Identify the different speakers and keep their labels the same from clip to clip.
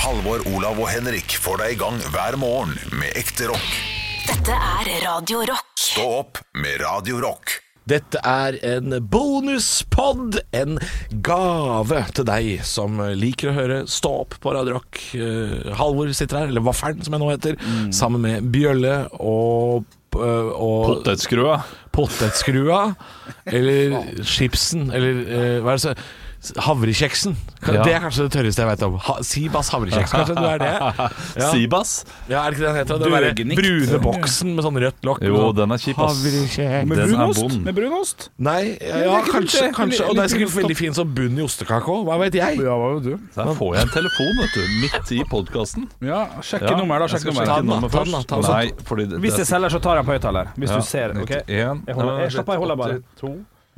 Speaker 1: Halvor, Olav og Henrik får deg i gang hver morgen med ekte rock.
Speaker 2: Dette er Radio Rock.
Speaker 1: Stå opp med Radio Rock.
Speaker 3: Dette er en bonuspod, en gave til deg som liker å høre Stå opp på Radio Rock. Eh, Halvor sitter her, eller Vaffelen som jeg nå heter,
Speaker 4: Mm.
Speaker 3: sammen med Bjølle og eh, og
Speaker 4: Pottetskrua.
Speaker 3: potetskrua, eller chipsen, eller eh, hva er det så Havrekjeksen. Kan-
Speaker 4: Ja.
Speaker 3: Det er kanskje det tørreste jeg vet om. Ha, Sibas havrekjeks, kanskje du er det? Ja.
Speaker 4: Sibas.
Speaker 3: Ja, er det ikke det den heter? Den derre
Speaker 5: Dørgenikt.
Speaker 3: brune boksen med sånn rødt lokk.
Speaker 4: Jo,
Speaker 3: med sånn-
Speaker 4: den er kjip, ass.
Speaker 3: Havrekjeks.
Speaker 5: Med
Speaker 4: Den er
Speaker 5: brunost?
Speaker 4: vond.
Speaker 5: Med brunost?
Speaker 3: Nei, ja,
Speaker 5: det er ikke
Speaker 3: kanskje,
Speaker 5: dumt, det.
Speaker 3: kanskje. Og det er
Speaker 5: Litt
Speaker 3: sikkert
Speaker 5: gullstopp.
Speaker 3: veldig fin som sånn bunn i ostekaka òg, hva vet jeg?
Speaker 5: Ja, hva var det du?
Speaker 4: Så her får jeg en telefon, vet du, midt i podkasten.
Speaker 5: Ja, sjekke nummeret, da.
Speaker 3: Ta
Speaker 4: jeg skal
Speaker 5: Sjekk nummeret.
Speaker 4: sjekke
Speaker 3: den da,
Speaker 4: nummeret
Speaker 3: ta den da,
Speaker 4: først.
Speaker 3: ta den da.
Speaker 4: Nei, fordi det, eh,
Speaker 5: Hvis jeg selger, så tar jeg på høyttaler. Hvis du ser. OK? Jeg holder- jeg slapper av, jeg holder bare.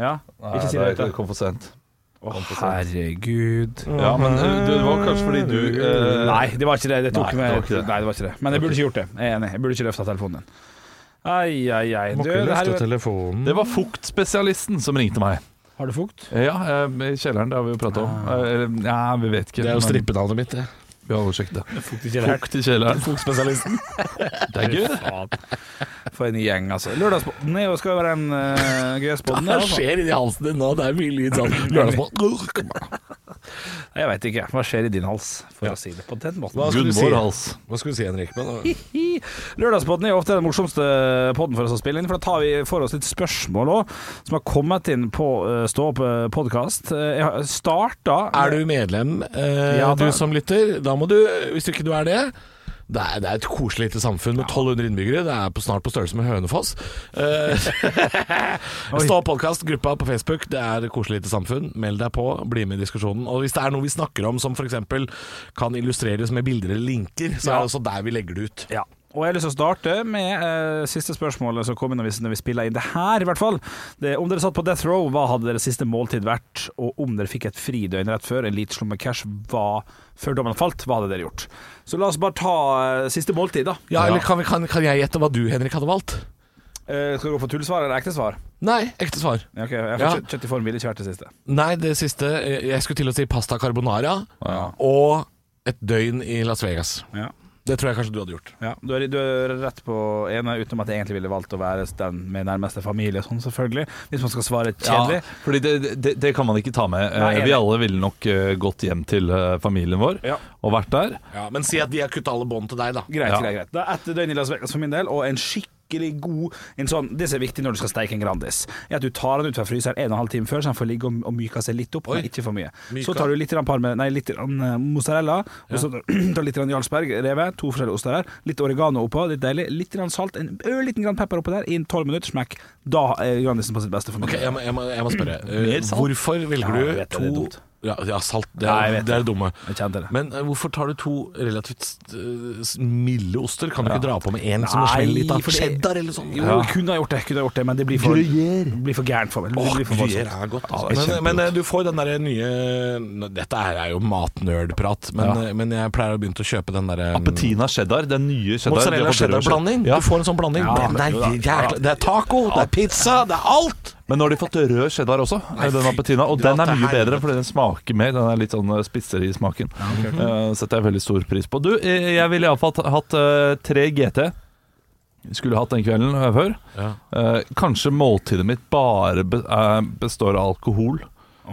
Speaker 5: Ja. Ikke si det
Speaker 4: det
Speaker 5: høyt.
Speaker 4: kom for sent.
Speaker 5: Herregud.
Speaker 4: Ja, men eh, det var kanskje fordi du eh,
Speaker 5: Nei, det var ikke det. Det tok
Speaker 4: Nei,
Speaker 5: meg
Speaker 4: det var ikke det.
Speaker 5: Nei, det var ikke det. Men jeg burde ikke gjort det. Jeg er enig. Jeg burde ikke løfta telefonen din. Ai, ai, ai. Du, det her,
Speaker 3: telefonen.
Speaker 4: Det var fuktspesialisten som ringte meg.
Speaker 5: har du fukt?
Speaker 4: Ja, eh, i kjelleren. Det har vi jo prata om. Eh, Eller, ja, vi vet ikke.
Speaker 3: Det er jo
Speaker 4: men
Speaker 3: strippenavnet mitt, det.
Speaker 4: Vi har jo sjekket det.
Speaker 5: Fukt ikke
Speaker 4: Fukt i kjelleren.
Speaker 3: Fotspesialisten.
Speaker 4: Det er gøy, det.
Speaker 5: For en gjeng, altså. Lørdagspodden er jo- skal jo være en uh, gøyspodden.
Speaker 3: Hva skjer inni halsen din nå? Det er mye lyd sånn lørdagsmorgen.
Speaker 5: Jeg veit ikke. Hva skjer i din hals, for å si det på den måten?
Speaker 3: Hva skulle du si?
Speaker 4: Gunvor Hals.
Speaker 3: Hva skulle du si, Henrik? Men,
Speaker 5: Hi. Lørdagspodden er jo ofte den morsomste podden for oss å spille inn, for da tar vi for oss litt spørsmål òg, som har kommet inn på eh, Stå opp-podkast. Jeg har starta
Speaker 3: er du medlem, eh,
Speaker 5: Ja,
Speaker 3: du
Speaker 5: da-
Speaker 3: som lytter? Da må du, hvis du ikke du er det det er, det er et koselig lite samfunn med 1200 innbyggere. Det er på, snart på størrelse med Hønefoss. Eh, Stå podkast, gruppa på Facebook. Det er et koselig lite samfunn. Meld deg på, bli med i diskusjonen. Og hvis det er noe vi snakker om som f.eks. kan illustreres med bilder eller linker, så
Speaker 5: Ja.
Speaker 3: er det også der vi legger det ut.
Speaker 5: Ja. Og jeg har lyst til å starte med eh, siste spørsmålet som kom inn når vi, når vi spilla inn det her, i hvert fall. Det, om dere satt på death row, hva hadde deres siste måltid vært? Og om dere fikk et fridøgn rett før, en liten slummer cash, hva, før dommen falt, hva hadde dere gjort? Så la oss bare ta eh, siste måltid, da.
Speaker 3: Ja, eller kan, vi, kan, kan jeg gjette hva du, Henrik, hadde valgt?
Speaker 5: Eh, skal du gå for tullsvar eller ekte svar?
Speaker 3: Nei, ekte svar.
Speaker 5: Ja, ok, jeg
Speaker 3: Ja.
Speaker 5: får kjøtt- kjøtt i form, ville ikke vært det siste.
Speaker 3: Nei, det siste eh, Jeg skulle til å si pasta carbonara og et døgn i Las Vegas.
Speaker 5: Ja.
Speaker 3: Det tror jeg kanskje du hadde gjort.
Speaker 5: Ja, du er, du er rett på ene, utenom at jeg egentlig ville valgt å være den med nærmeste familie, sånn selvfølgelig. Hvis man skal svare kjedelig.
Speaker 4: Ja, fordi det, det, det kan man ikke ta med. Eh,
Speaker 5: Nei, enig.
Speaker 4: vi alle ville nok eh, gått hjem til eh, familien vår
Speaker 5: Ja.
Speaker 4: og vært der.
Speaker 3: Ja, Men si at de har kutta alle bånd til deg, da.
Speaker 5: Greit,
Speaker 4: Ja.
Speaker 5: greit, greit. Da ett døgn i Las Vegas for min del, og en skikkelig god en sånn, Det som er viktig når du skal steike en Grandis, er at du tar den ut fra fryseren en og en halv time før, så den får ligge og, og myke seg litt opp, men ikke for mye.
Speaker 3: Myka.
Speaker 5: Så tar du litt grann parme, nei, litt grann eh, mozzarella, og så tar tar litt grann Jarlsberg, reve, to forskjellige oster der, litt oregano oppå, litt deilig, litt grann salt, en ørliten grann pepper oppå der, innen tolv minutter, smekk. Da er Grandisen på sitt beste for min
Speaker 3: Ok,
Speaker 5: del.
Speaker 3: Jeg må, jeg må, jeg må spørre. Eh,
Speaker 4: Mer salt?
Speaker 3: Hvorfor velger
Speaker 5: Ja,
Speaker 3: du
Speaker 5: jeg vet det, det er
Speaker 3: to
Speaker 5: dumt.
Speaker 3: ja, ja, salt. Det
Speaker 5: Nei, jeg
Speaker 3: er,
Speaker 5: vet
Speaker 3: det er dumme.
Speaker 5: Jeg kjente det.
Speaker 3: Men eh, hvorfor tar du to relativt eh, s- milde oster? Kan du ikke dra på med én som
Speaker 5: Nei,
Speaker 3: du smeller litt av?
Speaker 5: fordi-
Speaker 3: Cheddar eller sånn?
Speaker 5: Jo, kunne ha gjort det, kunne ha gjort det, men det blir for, det blir for gærent for meg. Det
Speaker 3: Åh,
Speaker 5: blir for
Speaker 3: gruyère
Speaker 5: voldsomt.
Speaker 3: er godt.
Speaker 5: Ja,
Speaker 3: Altså.
Speaker 5: det er
Speaker 3: men, men eh, du får den derre nye Nå, Dette her er jo matnerdprat, men, eh, men jeg pleier å begynne å kjøpe den eh, derre
Speaker 4: Appetina cheddar, den nye cheddar.
Speaker 3: Mozzarella
Speaker 4: de har fått rød
Speaker 3: cheddar-blanding.
Speaker 4: cheddar. Ja.
Speaker 3: Du får en sånn blanding.
Speaker 5: Ja,
Speaker 3: men det, er
Speaker 5: jo da.
Speaker 3: jækla, det er taco, det er pizza, det er alt!
Speaker 4: Men nå har de fått rød cheddar også, eh, den appetina. Og
Speaker 3: dra
Speaker 4: den er
Speaker 3: til
Speaker 4: mye
Speaker 3: helvete.
Speaker 4: bedre, fordi den smaker mer. Den er litt sånn eh, spissere i smaken. Eh, setter jeg veldig stor pris på. Du, eh, jeg ville iallfall hatt eh, tre GT. Skulle hatt den kvelden eh, før. Eh, kanskje måltidet mitt bare be, eh, består av alkohol.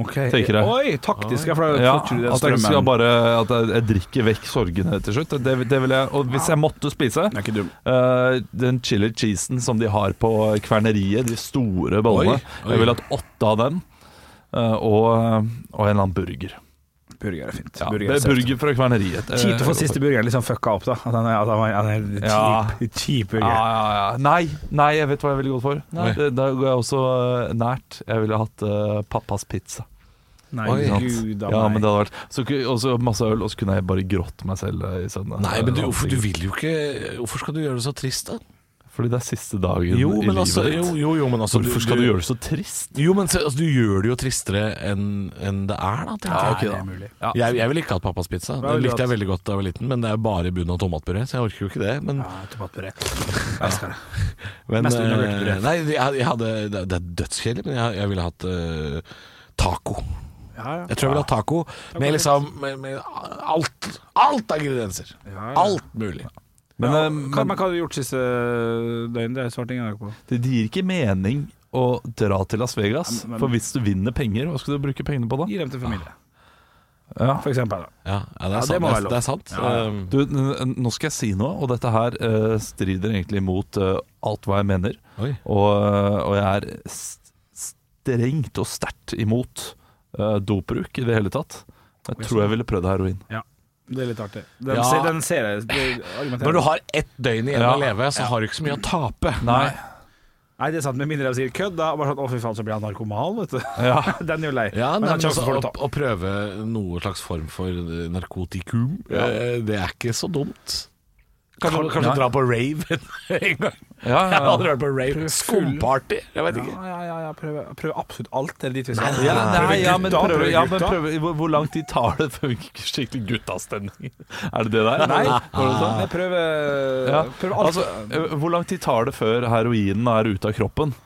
Speaker 5: Okay.
Speaker 4: Tenker jeg.
Speaker 5: Oi, taktisk, ja, for da
Speaker 4: Ja,
Speaker 5: får du den
Speaker 4: at jeg, skal
Speaker 5: strømmen.
Speaker 4: bare, at jeg, jeg drikker vekk sorgene til slutt. Det, det vil jeg, og hvis jeg måtte spise
Speaker 5: Den er ikke dum.
Speaker 4: eh, den chili cheesen som de har på kverneriet, de store
Speaker 3: Oi,
Speaker 4: bollene
Speaker 3: oi.
Speaker 4: Jeg ville hatt åtte av den, eh, og, og en eller annen burger.
Speaker 5: Burger er fint.
Speaker 4: Ja,
Speaker 5: burger
Speaker 4: burger,
Speaker 5: er søtt.
Speaker 4: burger fra kverneriet. Eh,
Speaker 5: Kjipt å få siste burgeren liksom fucka opp, da. At han er, at han er, at han er
Speaker 4: Ja.
Speaker 5: kjip, kjip
Speaker 4: Ja,
Speaker 5: burger.
Speaker 4: ja, ja. Nei, nei, jeg vet hva jeg ville gått for.
Speaker 3: Nei.
Speaker 4: Det, da går jeg også eh, nært. Jeg ville hatt eh, pappas pizza.
Speaker 5: Nei,
Speaker 3: Oi.
Speaker 4: Ikke sant?
Speaker 5: gud a
Speaker 4: ja, men
Speaker 5: meg.
Speaker 4: det hadde vært så, ku- Og så masse øl, og så kunne jeg bare grått meg selv eh, i søvne.
Speaker 3: Nei, men du, hvorfor, du vil jo ikke Hvorfor skal du gjøre det så trist, da?
Speaker 4: Fordi det er siste dagen
Speaker 3: Jo,
Speaker 4: i
Speaker 3: men
Speaker 4: livet
Speaker 3: altså,
Speaker 4: ditt.
Speaker 3: jo, jo, jo, men altså
Speaker 4: Hvorfor skal du, gjøre det så trist?
Speaker 3: Jo, men se, altså, du gjør det jo tristere enn enn det er, da. tenker jeg.
Speaker 5: Nei, det er mulig.
Speaker 4: Ja.
Speaker 3: Jeg, jeg ville ikke hatt pappas pizza.
Speaker 5: Hva
Speaker 3: Den
Speaker 5: ville du
Speaker 3: likte jeg
Speaker 5: hatt?
Speaker 3: veldig godt da jeg var liten, men det er jo bare bunn av tomatpuré, så jeg orker jo ikke det. Men,
Speaker 5: Ja, tomatpuré. Jeg elsker det.
Speaker 3: men
Speaker 5: mest
Speaker 3: eh,
Speaker 5: undervurdert puré.
Speaker 3: Nei, jeg, jeg hadde Det det er dødskjedelig, men jeg, jeg ville hatt eh, taco.
Speaker 5: Ja, ja.
Speaker 3: Jeg tror jeg vil ha taco med liksom med, med alt, alt av ingredienser.
Speaker 5: Ja, ja.
Speaker 3: Alt mulig.
Speaker 4: Men,
Speaker 5: ja,
Speaker 4: eh,
Speaker 5: hva,
Speaker 4: men
Speaker 5: men hva har du gjort siste døgn? Det svarte ingen av dere på.
Speaker 4: det gir ikke mening å dra til Las Vegas.
Speaker 5: Ja, men-
Speaker 4: For hvis du vinner penger, hva skal du bruke pengene på da?
Speaker 5: Gi dem til familie,
Speaker 4: Ja.
Speaker 5: for eksempel. Da.
Speaker 3: Ja, ja, det, er
Speaker 5: det
Speaker 3: sant.
Speaker 5: må
Speaker 3: det,
Speaker 5: være
Speaker 3: er,
Speaker 5: lov.
Speaker 3: det er sant.
Speaker 5: Ja, ja.
Speaker 3: Um,
Speaker 4: Du, n- n- nå skal jeg si noe, og dette her eh, strider egentlig mot eh, alt hva jeg mener.
Speaker 3: Oi.
Speaker 4: Og, eh, og jeg er st strengt og sterkt imot eh, dopbruk i det hele tatt. Jeg tror jeg ville prøvd heroin.
Speaker 5: Det er litt artig. Den,
Speaker 3: Ja.
Speaker 5: ser, den ser jeg. det argumenterer.
Speaker 3: Når du har ett døgn igjen
Speaker 4: Ja.
Speaker 3: å leve, så har du ikke så mye å tape.
Speaker 4: Nei.
Speaker 5: Nei, det er sant. Med mindre de sier kødd, da. og Bare sånn, å, fy faen, så blir han narkoman, vet du.
Speaker 4: Ja.
Speaker 5: Den er jo lei.
Speaker 3: Ja,
Speaker 5: Men
Speaker 3: nei,
Speaker 5: den
Speaker 3: men
Speaker 5: sjansen
Speaker 3: altså,
Speaker 5: får
Speaker 3: å,
Speaker 5: du ta.
Speaker 3: å prøve noe slags form for eh, narkotikum, eh, det er ikke så dumt. Kanskje,
Speaker 4: Kan-
Speaker 3: kanskje
Speaker 4: Nei.
Speaker 3: dra på rave en gang.
Speaker 4: Ja,
Speaker 3: Jeg har
Speaker 4: ja, ja.
Speaker 3: aldri vært på rave. Skumparty? Jeg vet ikke.
Speaker 5: Ja, ja, ja, ja. Prøve, prøve absolutt alt. Er det dit vi skal?
Speaker 4: Ja, nei, ja, men
Speaker 5: Gutta,
Speaker 4: prøv, ja, men
Speaker 5: gutta.
Speaker 4: prøv, hvor, hvor lang tid tar det før vi ikke skikkelig guttastemning? Er det det der?
Speaker 5: Nei,
Speaker 4: Var det sånn?
Speaker 5: jeg prøver
Speaker 4: Ja,
Speaker 5: prøver alt.
Speaker 4: altså, eh, hvor lang tid tar det før heroinen er ute av kroppen?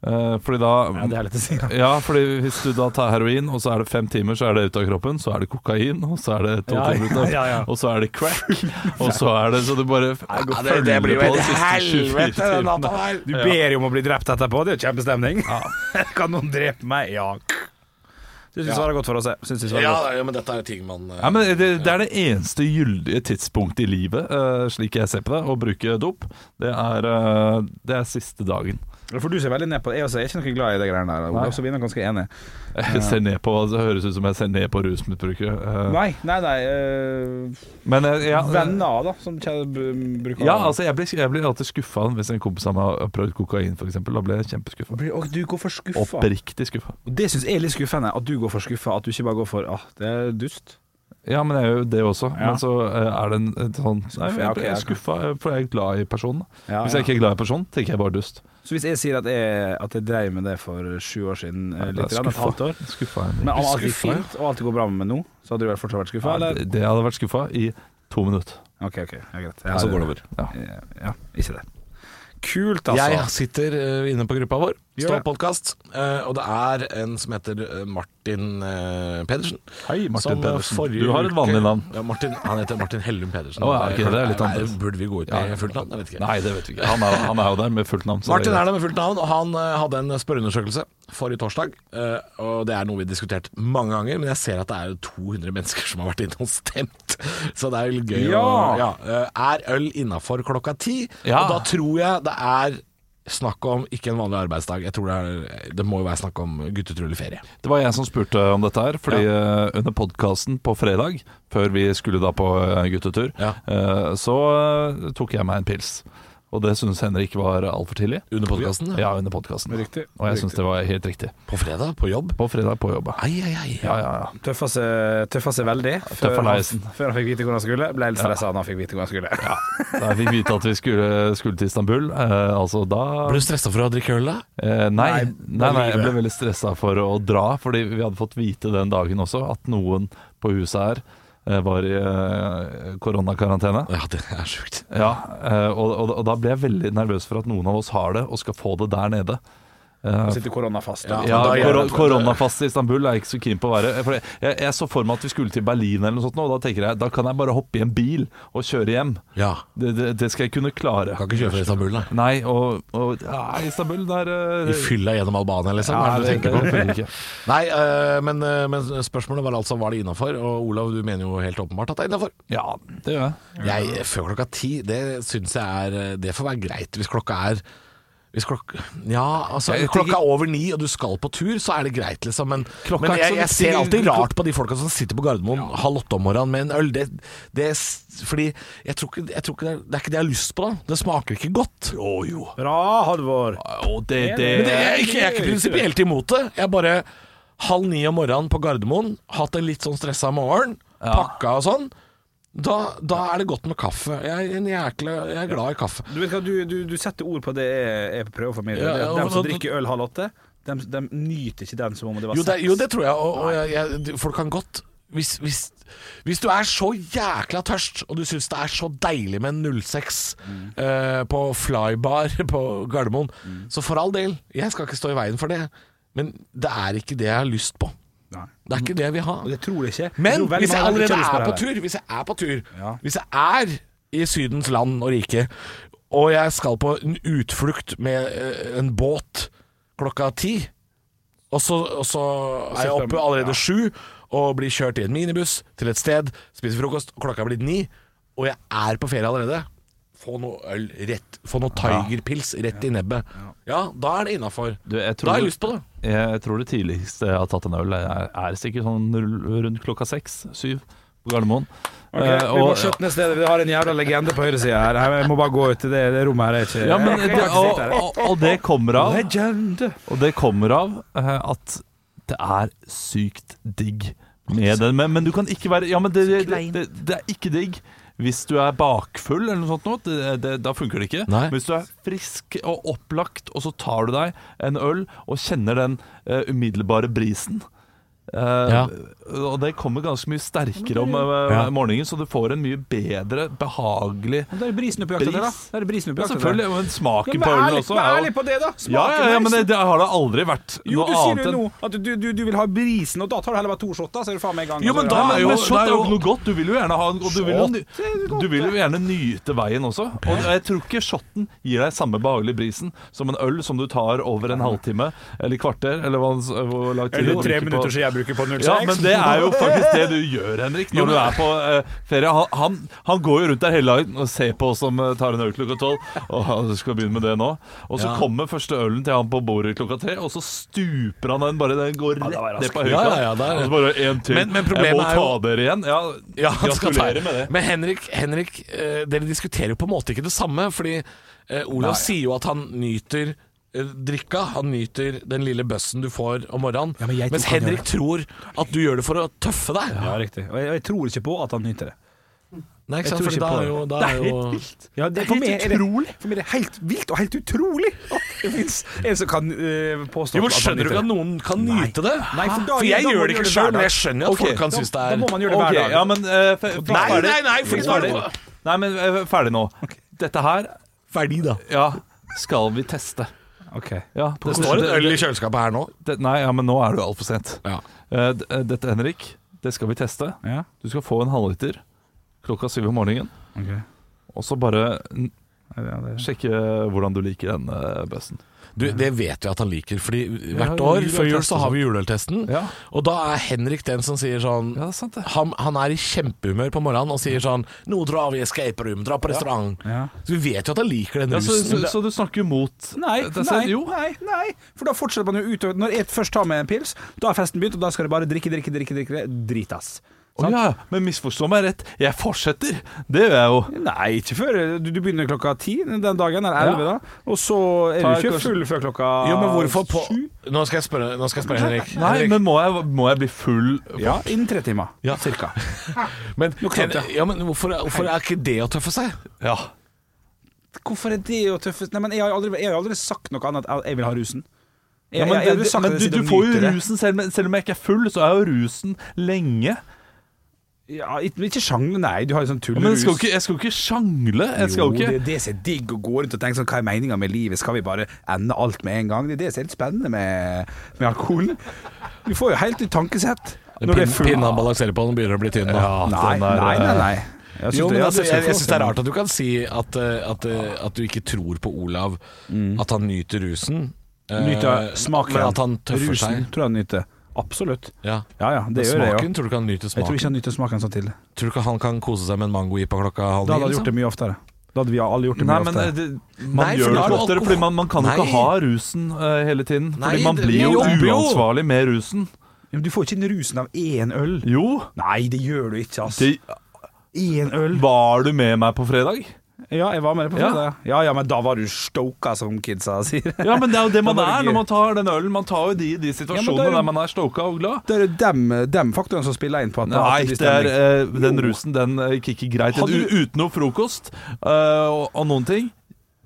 Speaker 4: Eh, fordi da
Speaker 5: ja, det er lett å si. Ja,
Speaker 4: Ja, fordi hvis du da tar heroin, og så er det fem timer, så er det ute av kroppen. Så er det kokain, og så er det to
Speaker 5: Ja,
Speaker 4: timer ut av-
Speaker 5: ja, ja.
Speaker 4: og så er det crack. Og så er det så du bare
Speaker 3: Ja, det, det blir jo et helvete, den natta der.
Speaker 5: Du ber jo om å bli drept etterpå, det er jo kjempestemning. kan noen drepe meg? Ja. Syns vi svarer godt for oss, jeg. Synes vi svarer
Speaker 3: Ja,
Speaker 5: godt.
Speaker 3: ja, men dette er ting man eh,
Speaker 4: Ja, men det, det er det eneste gyldige tidspunktet i livet, eh, slik jeg ser på det, å bruke dop. Det er, eh, det er siste dagen.
Speaker 5: For du ser veldig ned på det. Jeg også er ikke noe glad i det greiene der. Olav, så vi er nok ganske enige.
Speaker 4: Jeg ser ned på, altså, Det høres ut som jeg ser ned på rusmisbrukere. eh.
Speaker 5: Nei, nei, nei. øh,
Speaker 4: Men eh, ja,
Speaker 5: venner, da, som kjære b- bruker
Speaker 4: ja, altså jeg blir, jeg blir alltid skuffa hvis en kompis av meg har prøvd kokain, f.eks. Da blir jeg kjempeskuffa.
Speaker 5: Blir- Og du går for skuffa.
Speaker 4: Oppriktig skuffa.
Speaker 5: Og Det syns jeg er litt skuffende, at du går for skuffa. At du ikke bare går for ah, det er dust.
Speaker 4: Ja, men jeg gjør jo det også.
Speaker 5: Ja.
Speaker 4: Men så eh, er det en, en sånn Nei,
Speaker 5: Ja,
Speaker 4: jeg,
Speaker 5: ok,
Speaker 4: jeg er
Speaker 5: jeg kan-
Speaker 4: skuffa, eh, for jeg er glad i personen.
Speaker 5: Ja,
Speaker 4: Hvis jeg ikke er glad i personen, tenker jeg bare dust.
Speaker 5: Så hvis jeg sier at jeg, at jeg drev med det for sju år siden, eh,
Speaker 4: Da er
Speaker 5: litt, grann, et
Speaker 4: skuffa.
Speaker 5: halvt år
Speaker 4: Skuffa er
Speaker 5: Men
Speaker 4: mye.
Speaker 5: om alt gikk
Speaker 3: Skuffa, ja.
Speaker 5: fint, og alt går bra med meg nå, så hadde du vel fortsatt vært skuffa?
Speaker 4: Ja,
Speaker 5: Eller?
Speaker 4: det, det hadde vært skuffa i to minutter.
Speaker 5: OK, ok, ja, greit.
Speaker 4: Og så går det
Speaker 5: over.
Speaker 4: Ja.
Speaker 5: Ja, ikke det. Eh, Kult, altså.
Speaker 3: Jeg sitter eh, inne på gruppa vår,
Speaker 5: Gjør det.
Speaker 3: Stålpodkast, uh, og det er en som heter eh, Martin eh, Pedersen.
Speaker 4: Hei, Martin
Speaker 3: som, eh,
Speaker 4: Pedersen.
Speaker 3: forrige
Speaker 4: Du har et
Speaker 3: uke-
Speaker 4: vanlig navn.
Speaker 3: Ja, Martin, han heter Martin Hellum Pedersen.
Speaker 4: Å, ja, ok, det er litt
Speaker 3: Nei,
Speaker 4: annerledes.
Speaker 3: Burde vi gå ut med fullt navn? Jeg vet ikke.
Speaker 4: Nei, det vet vi ikke. Han er, han er jo der med fullt navn. så
Speaker 3: Martin
Speaker 4: det
Speaker 3: er der med fullt navn, og han eh, hadde en spørreundersøkelse forrige torsdag. eh, og det er noe vi har diskutert mange ganger, men jeg ser at det er 200 mennesker som har vært inne og stemt. Så det er jo litt gøy
Speaker 5: Ja.
Speaker 3: å ja, eh, Er øl innafor klokka ti?
Speaker 4: Ja.
Speaker 3: Og da tror jeg det er snakk om ikke en vanlig arbeidsdag. Jeg tror det, er, det må jo være snakk om guttetrulleferie.
Speaker 4: Det var jeg som spurte om dette her, fordi eh, under podkasten på fredag, før vi skulle da på eh, guttetur,
Speaker 3: Ja.
Speaker 4: eh, så eh, tok jeg meg en pils. Og det syns Henrik var altfor tidlig.
Speaker 3: Under podkasten?
Speaker 4: Ja, under podkasten.
Speaker 5: Riktig.
Speaker 4: Og jeg syns det var helt riktig.
Speaker 3: På fredag? På jobb?
Speaker 4: På fredag på jobb.
Speaker 3: Ai, ai, ai.
Speaker 4: Ja, ja, ja.
Speaker 5: Tøffa seg, tøffa seg veldig.
Speaker 4: tøffa
Speaker 5: Før han,
Speaker 4: leisen.
Speaker 5: før han fikk vite hvor han skulle. Ble helt stressa da han fikk vite hvor han skulle.
Speaker 4: Da jeg fikk vite at vi skulle, skulle til Istanbul, eh, altså da
Speaker 3: Ble du stressa for å drikke øl, da?
Speaker 4: eh, nei,
Speaker 5: Nei,
Speaker 4: nei, nei, jeg
Speaker 5: livet.
Speaker 4: ble veldig stressa for å dra, fordi vi hadde fått vite den dagen også at noen på huset her eh, var i eh, koronakarantene.
Speaker 3: Ja, det er sjukt.
Speaker 4: Ja, eh, og, og, og da ble jeg veldig nervøs for at noen av oss har det og skal få det der nede.
Speaker 5: Han Sitter korona fast.
Speaker 3: Ja,
Speaker 4: Ja,
Speaker 3: da gjør
Speaker 4: kor
Speaker 3: det.
Speaker 4: Koronafast i Istanbul er jeg ikke så keen på å være. eh, For jeg, jeg, jeg så for meg at vi skulle til Berlin eller noe sånt, nå, og da tenker jeg da kan jeg bare hoppe i en bil og kjøre hjem.
Speaker 3: Ja.
Speaker 4: Det, det, det skal jeg kunne klare.
Speaker 3: Kan ikke kjøre fra Istanbul, da.
Speaker 4: Nei, og, og ja, Istanbul der eh,
Speaker 3: I fylla gjennom Albania, liksom? Hva er det du tenker på?
Speaker 4: på?
Speaker 3: Nei, øh, men, øh, men spørsmålet var altså var det innafor, og Olav du mener jo helt åpenbart at det er innafor.
Speaker 4: Ja, det gjør jeg.
Speaker 3: Jeg, før klokka ti, det syns jeg er øh, Det får være greit hvis klokka er hvis klokka, ja, altså,
Speaker 4: Jeg tenker-
Speaker 3: klokka er over ni, og du skal på tur, så er det greit, liksom. Men,
Speaker 4: Klokka
Speaker 3: men
Speaker 4: er ikke sånn
Speaker 3: jeg,
Speaker 4: så-
Speaker 3: jeg ser alltid rart på de folka som sitter på Gardermoen halv åtte om morgenen med en øl. Det, det, er s- fordi jeg tror ikke, jeg tror ikke det, er, det er ikke det jeg har lyst på, da. Det smaker ikke godt.
Speaker 4: Å jo.
Speaker 5: Bra, Halvor.
Speaker 4: Og det, det,
Speaker 3: Men det, jeg, er ikke, jeg er ikke prinsipielt imot det. Jeg er bare halv ni om morgenen på Gardermoen, hatt en litt sånn stressa morgen, pakka og sånn. Da, da er det godt med kaffe. Jeg er, en jækla, jeg er glad i kaffe.
Speaker 5: Du vet hva, du, du, du setter ord på det jeg, jeg prøver å formidle.
Speaker 3: Ja,
Speaker 5: Det er
Speaker 3: ja,
Speaker 5: dem som
Speaker 3: og-
Speaker 5: drikker øl halv åtte, dem, dem nyter ikke den som om det var
Speaker 3: Jo, det,
Speaker 5: sex.
Speaker 3: jo, det tror jeg, og, og jeg, jeg, folk kan godt hvis, hvis, hvis du er så jækla tørst, og du syns det er så deilig med en 06 eh, på flybar på Gardermoen, så for all del, jeg skal ikke stå i veien for det, men det er ikke det jeg har lyst på.
Speaker 5: Nei.
Speaker 3: Det er ikke det jeg vil ha.
Speaker 5: Og det tror jeg ikke.
Speaker 3: Men
Speaker 5: tror veldig
Speaker 3: hvis jeg
Speaker 5: mange har
Speaker 3: allerede
Speaker 5: ikke lyst
Speaker 3: er på
Speaker 5: det.
Speaker 3: tur, hvis jeg er på tur,
Speaker 5: Ja.
Speaker 3: hvis jeg er i Sydens land og rike, og jeg skal på en utflukt med eh, en båt klokka ti, og så, og så er jeg oppe allerede sju og blir kjørt i en minibuss til et sted, spiser frokost, og klokka er blitt ni, og jeg er på ferie allerede. Få noe øl rett Få noe Tigerpils rett i nebbet. Ja, da er det innafor.
Speaker 4: Du, jeg tror
Speaker 3: Da har
Speaker 4: du-
Speaker 3: jeg lyst på det.
Speaker 4: Jeg tror det tidligste jeg har tatt en øl, er, er sikkert sånn null- rundt klokka seks-syv på Gardermoen.
Speaker 5: Ok,
Speaker 4: Eh,
Speaker 5: vi må
Speaker 4: og-
Speaker 5: skjøtte ned stedet. Vi har en jævla legende på høyresida her. Jeg må bare gå ut. Det, det rommet her er ikke
Speaker 4: ja, men, det, og, og, og det kommer av
Speaker 5: Legende!
Speaker 4: Og det kommer av eh, at det er sykt digg med den. Men, men du kan ikke være Ja, men det, det, det, det er ikke digg. Hvis du er bakfull, eller noe sånt, noe, det, det, da funker det ikke.
Speaker 3: Nei.
Speaker 4: Men hvis du er frisk og opplagt, og så tar du deg en øl og kjenner den eh, umiddelbare brisen eh,
Speaker 3: Ja.
Speaker 4: Og det kommer ganske mye sterkere om eh,
Speaker 3: Ja.
Speaker 4: morgenen, så du får en mye bedre, behagelig
Speaker 5: Da er det brisen du på jakt etter, da.
Speaker 4: Bris.
Speaker 5: da. Er det brisen du på
Speaker 4: ja,
Speaker 5: jakt etter.
Speaker 4: Selvfølgelig. Men
Speaker 5: Ja,
Speaker 4: smaken
Speaker 5: men
Speaker 4: på
Speaker 5: vær
Speaker 4: ølen
Speaker 5: ærlig,
Speaker 4: også
Speaker 5: vær
Speaker 4: er jo-
Speaker 5: ærlig på det, da!
Speaker 4: ja,
Speaker 5: Smaken
Speaker 4: ja, ja, men
Speaker 5: er
Speaker 4: det,
Speaker 5: liksom-
Speaker 4: det har det aldri vært
Speaker 5: jo,
Speaker 4: noe
Speaker 5: du sier
Speaker 4: annet
Speaker 5: jo
Speaker 4: enn
Speaker 5: nå at du, du, du vil ha brisen, og da tar du heller bare to shotter, så er du faen meg i gang.
Speaker 4: Jo, men
Speaker 5: Altså,
Speaker 4: da
Speaker 5: ja,
Speaker 4: er jo,
Speaker 3: men
Speaker 4: det
Speaker 3: shot
Speaker 4: er jo
Speaker 3: er jo-
Speaker 4: noe godt. Du vil jo gjerne ha en Du vil jo, ny-
Speaker 5: Shot er godt,
Speaker 4: du vil jo gjerne nyte veien også. Og jeg tror ikke shotten gir deg samme behagelige brisen som en øl som du tar over en halvtime eller kvarter, eller hva hvor lang tid du
Speaker 5: Eller
Speaker 4: bruker
Speaker 5: tre
Speaker 4: på-
Speaker 5: minutter siden jeg bruker på 06.
Speaker 4: ja, men det er jo faktisk det du gjør, Henrik, når du er på eh, ferie. Han, han, han går jo rundt der hele dagen og ser på oss som eh, tar en øl klokka tolv. Og han skal begynne med det nå. Og så
Speaker 3: Ja.
Speaker 4: kommer første ølen til han på bordet klokka tre, og så stuper han den bare. Den går
Speaker 5: det var
Speaker 4: rett ned
Speaker 5: raskt.
Speaker 3: Ja,
Speaker 4: på høykant.
Speaker 3: ja, ja, det er-
Speaker 4: og så bare én til.
Speaker 3: Men- men
Speaker 4: jeg
Speaker 3: problemet
Speaker 4: må
Speaker 3: er
Speaker 4: ta
Speaker 3: jo-
Speaker 4: dere igjen. Ja,
Speaker 3: Ja, han skal ta
Speaker 4: gratulerer med det.
Speaker 3: Men Henrik, Henrik eh, dere diskuterer jo på en måte ikke det samme, fordi eh, Olav sier jo at han nyter eh, drikka, han nyter den lille bøssen du får om morgenen,
Speaker 5: men jeg tror
Speaker 3: mens
Speaker 5: han gjør
Speaker 3: Henrik tror at du gjør det for å tøffe deg.
Speaker 5: Ja, riktig. Og jeg, jeg tror ikke på at han nyter det.
Speaker 3: Nei, ikke
Speaker 5: Jeg
Speaker 3: sant?
Speaker 5: tror
Speaker 3: Fordi
Speaker 5: ikke
Speaker 3: da
Speaker 5: på
Speaker 3: er jo, da er
Speaker 5: det er
Speaker 3: jo
Speaker 5: helt vilt. Ja, det, for, meg er det, for meg er det helt vilt og helt utrolig at det fins en som kan eh, påstå
Speaker 3: jo, men
Speaker 5: at han
Speaker 3: Skjønner du
Speaker 5: nyter
Speaker 3: ikke at
Speaker 5: det.
Speaker 3: noen kan
Speaker 5: Nei.
Speaker 3: nyte det?
Speaker 5: Nei, for da-
Speaker 3: jeg gjør det
Speaker 5: da må du
Speaker 3: ikke
Speaker 5: gjøre det hver
Speaker 3: sjøl, men
Speaker 5: dag.
Speaker 3: jeg skjønner jo at
Speaker 4: Ok,
Speaker 3: folk kan synes det
Speaker 5: Da
Speaker 3: er
Speaker 5: må man gjøre det
Speaker 4: Ok,
Speaker 5: hver dag.
Speaker 4: ja, men, eh, fe-
Speaker 3: Nei,
Speaker 4: ferdig.
Speaker 3: nei, nei, fordi da er
Speaker 4: ferdig.
Speaker 3: det
Speaker 4: Nei, men eh, ferdig nå. Dette her,
Speaker 3: ferdig, da.
Speaker 4: ja, skal vi teste.
Speaker 5: Ok.
Speaker 4: Ja,
Speaker 3: Det står en øl i kjøleskapet her nå.
Speaker 4: det, Nei, ja, men nå er det jo altfor sent.
Speaker 3: Ja.
Speaker 4: Eh, d- eh, dette, Henrik, det skal vi teste.
Speaker 5: Ja,
Speaker 4: Du skal få en halvliter klokka syv om morgenen.
Speaker 5: ok.
Speaker 4: Og så bare n-
Speaker 5: Ja, det er-
Speaker 4: sjekke hvordan du liker den eh, bøssen.
Speaker 3: Du, det vet vi at han liker, fordi hvert
Speaker 4: ja,
Speaker 3: år
Speaker 4: juleøltest
Speaker 3: før jul så
Speaker 4: og
Speaker 3: har
Speaker 4: sånn.
Speaker 3: vi juleøltesten,
Speaker 4: Ja.
Speaker 3: og da er Henrik den som sier sånn
Speaker 4: Ja, det er sant, det.
Speaker 3: han, han er i kjempehumør på morgenen og sier sånn Nå drar vi i escape room, dra på restaurant.
Speaker 5: Ja.
Speaker 3: Så vi vet jo at han liker den
Speaker 4: Ja, så, så,
Speaker 3: rusen.
Speaker 4: så du snakker mot
Speaker 5: Nei,
Speaker 4: det,
Speaker 5: nei,
Speaker 4: Jo.
Speaker 5: nei, nei, for da fortsetter man jo utover. Når jeg først tar med en pils, da er festen begynt, og da skal det bare drikke, drikke, drikke, drikke, dritass.
Speaker 4: Å ja, men misforstå meg rett. Jeg fortsetter. Det gjør jeg jo.
Speaker 5: Nei, ikke før eh, du, du begynner klokka ti den dagen, eller elleve,
Speaker 4: Ja.
Speaker 5: da. Og så er
Speaker 4: Tar
Speaker 5: du ikke
Speaker 4: kanskje-
Speaker 5: full før klokka
Speaker 3: Jo, men hvorfor på
Speaker 5: sju.
Speaker 3: Nå skal jeg spørre, nå skal jeg spørre Henrik.
Speaker 4: Nei,
Speaker 3: Henrik.
Speaker 4: men må jeg, må jeg bli full?
Speaker 5: Ja, innen tre timer.
Speaker 3: Ja.
Speaker 5: Cirka.
Speaker 3: men,
Speaker 5: klarte jeg.
Speaker 3: ja, men hvorfor, hvorfor er ikke det å tøffe seg?
Speaker 4: Ja.
Speaker 5: Hvorfor er det å tøffe Nei, men jeg har jo aldri, jeg har jo aldri sagt noe annet enn at jeg vil ha rusen. Jeg,
Speaker 4: Ja, men
Speaker 5: jeg, jeg, har
Speaker 4: det-
Speaker 5: aldri sagt
Speaker 4: men
Speaker 5: at
Speaker 4: du,
Speaker 5: jeg
Speaker 4: du
Speaker 5: sitter og
Speaker 4: får jo
Speaker 5: nyter det.
Speaker 4: rusen selv, om- selv om jeg ikke er full, så er jo rusen lenge.
Speaker 5: Ja, ikke, ikke sjang, nei, du har jo sånn
Speaker 4: Ja, Men jeg
Speaker 5: tullerus.
Speaker 4: skal jo ikke, jeg skal jo ikke sjangle. Jeg skal jo
Speaker 5: det
Speaker 4: ikke
Speaker 5: er det som er digg å gå rundt og tenke sånn Hva er meninga med livet? Skal vi bare ende alt med en gang? Det er det som er litt spennende med, med alkoholen. Du får jo helt nytt tankesett når du er
Speaker 3: Pin-
Speaker 5: full.
Speaker 3: Pinnen han balanserer på, den begynner å bli tynn. Da.
Speaker 5: Nei,
Speaker 4: den er,
Speaker 5: nei, nei. nei. Jeg
Speaker 3: Jo,
Speaker 5: synes
Speaker 3: men
Speaker 5: ja,
Speaker 3: altså,
Speaker 5: skal
Speaker 3: jeg,
Speaker 5: få
Speaker 3: jeg syns det er
Speaker 5: lov til.
Speaker 3: rart at du kan si at, eh, at, eh, at du ikke tror på Olav, at han nyter rusen. eh,
Speaker 5: Mm. Nyter smaken.
Speaker 3: Men at han tøffer
Speaker 5: Rusen
Speaker 3: seg.
Speaker 5: tror jeg han nyter. Absolutt.
Speaker 3: Ja.
Speaker 5: Ja ja, det gjør jeg jo.
Speaker 3: smaken? Tror du ikke han nyter
Speaker 5: Jeg tror
Speaker 3: smaken?
Speaker 5: ikke han nyter smaken sånn til.
Speaker 3: Tror du ikke han kan kose seg med en mango-jipa klokka halv ni?
Speaker 5: Da hadde han gjort
Speaker 3: liksom?
Speaker 5: det mye oftere. Da hadde vi alle gjort det
Speaker 4: Nei,
Speaker 5: mye
Speaker 4: men eh,
Speaker 5: oftere.
Speaker 4: det, man
Speaker 3: Nei, for
Speaker 4: gjør det
Speaker 3: da er
Speaker 4: ikke
Speaker 3: det
Speaker 4: oftere, fordi man, man kan jo
Speaker 3: Nei.
Speaker 4: ikke ha rusen eh, hele tiden.
Speaker 3: Nei,
Speaker 4: fordi man
Speaker 3: det-
Speaker 4: blir
Speaker 3: man
Speaker 4: jo
Speaker 3: jobber jo.
Speaker 4: uansvarlig med rusen.
Speaker 5: Ja, Men eh, du får ikke den rusen av én øl.
Speaker 4: Jo,
Speaker 5: Nei, det gjør du ikke, ass.
Speaker 4: det,
Speaker 5: Én øl.
Speaker 4: var du med meg på fredag?
Speaker 5: Ja, jeg var med deg på
Speaker 4: Ja.
Speaker 5: fredag. Ja. ja ja, men da var du stoka, som kidsa sier.
Speaker 4: Ja, men det er jo det man
Speaker 5: Da var det
Speaker 4: er
Speaker 5: gøy.
Speaker 4: når man tar den ølen. Man tar jo de i de
Speaker 5: Ja, men
Speaker 4: situasjonene
Speaker 5: det er jo-
Speaker 4: der man er stoka og glad.
Speaker 5: Det er jo dem, dem faktorene som spiller inn på at
Speaker 4: Nei,
Speaker 5: blir
Speaker 4: det er,
Speaker 5: stemning.
Speaker 4: eh, den rusen den eh, kicker greit.
Speaker 5: Hadde
Speaker 4: U-
Speaker 5: du-
Speaker 4: Uten noe frokost eh, og, og noen ting.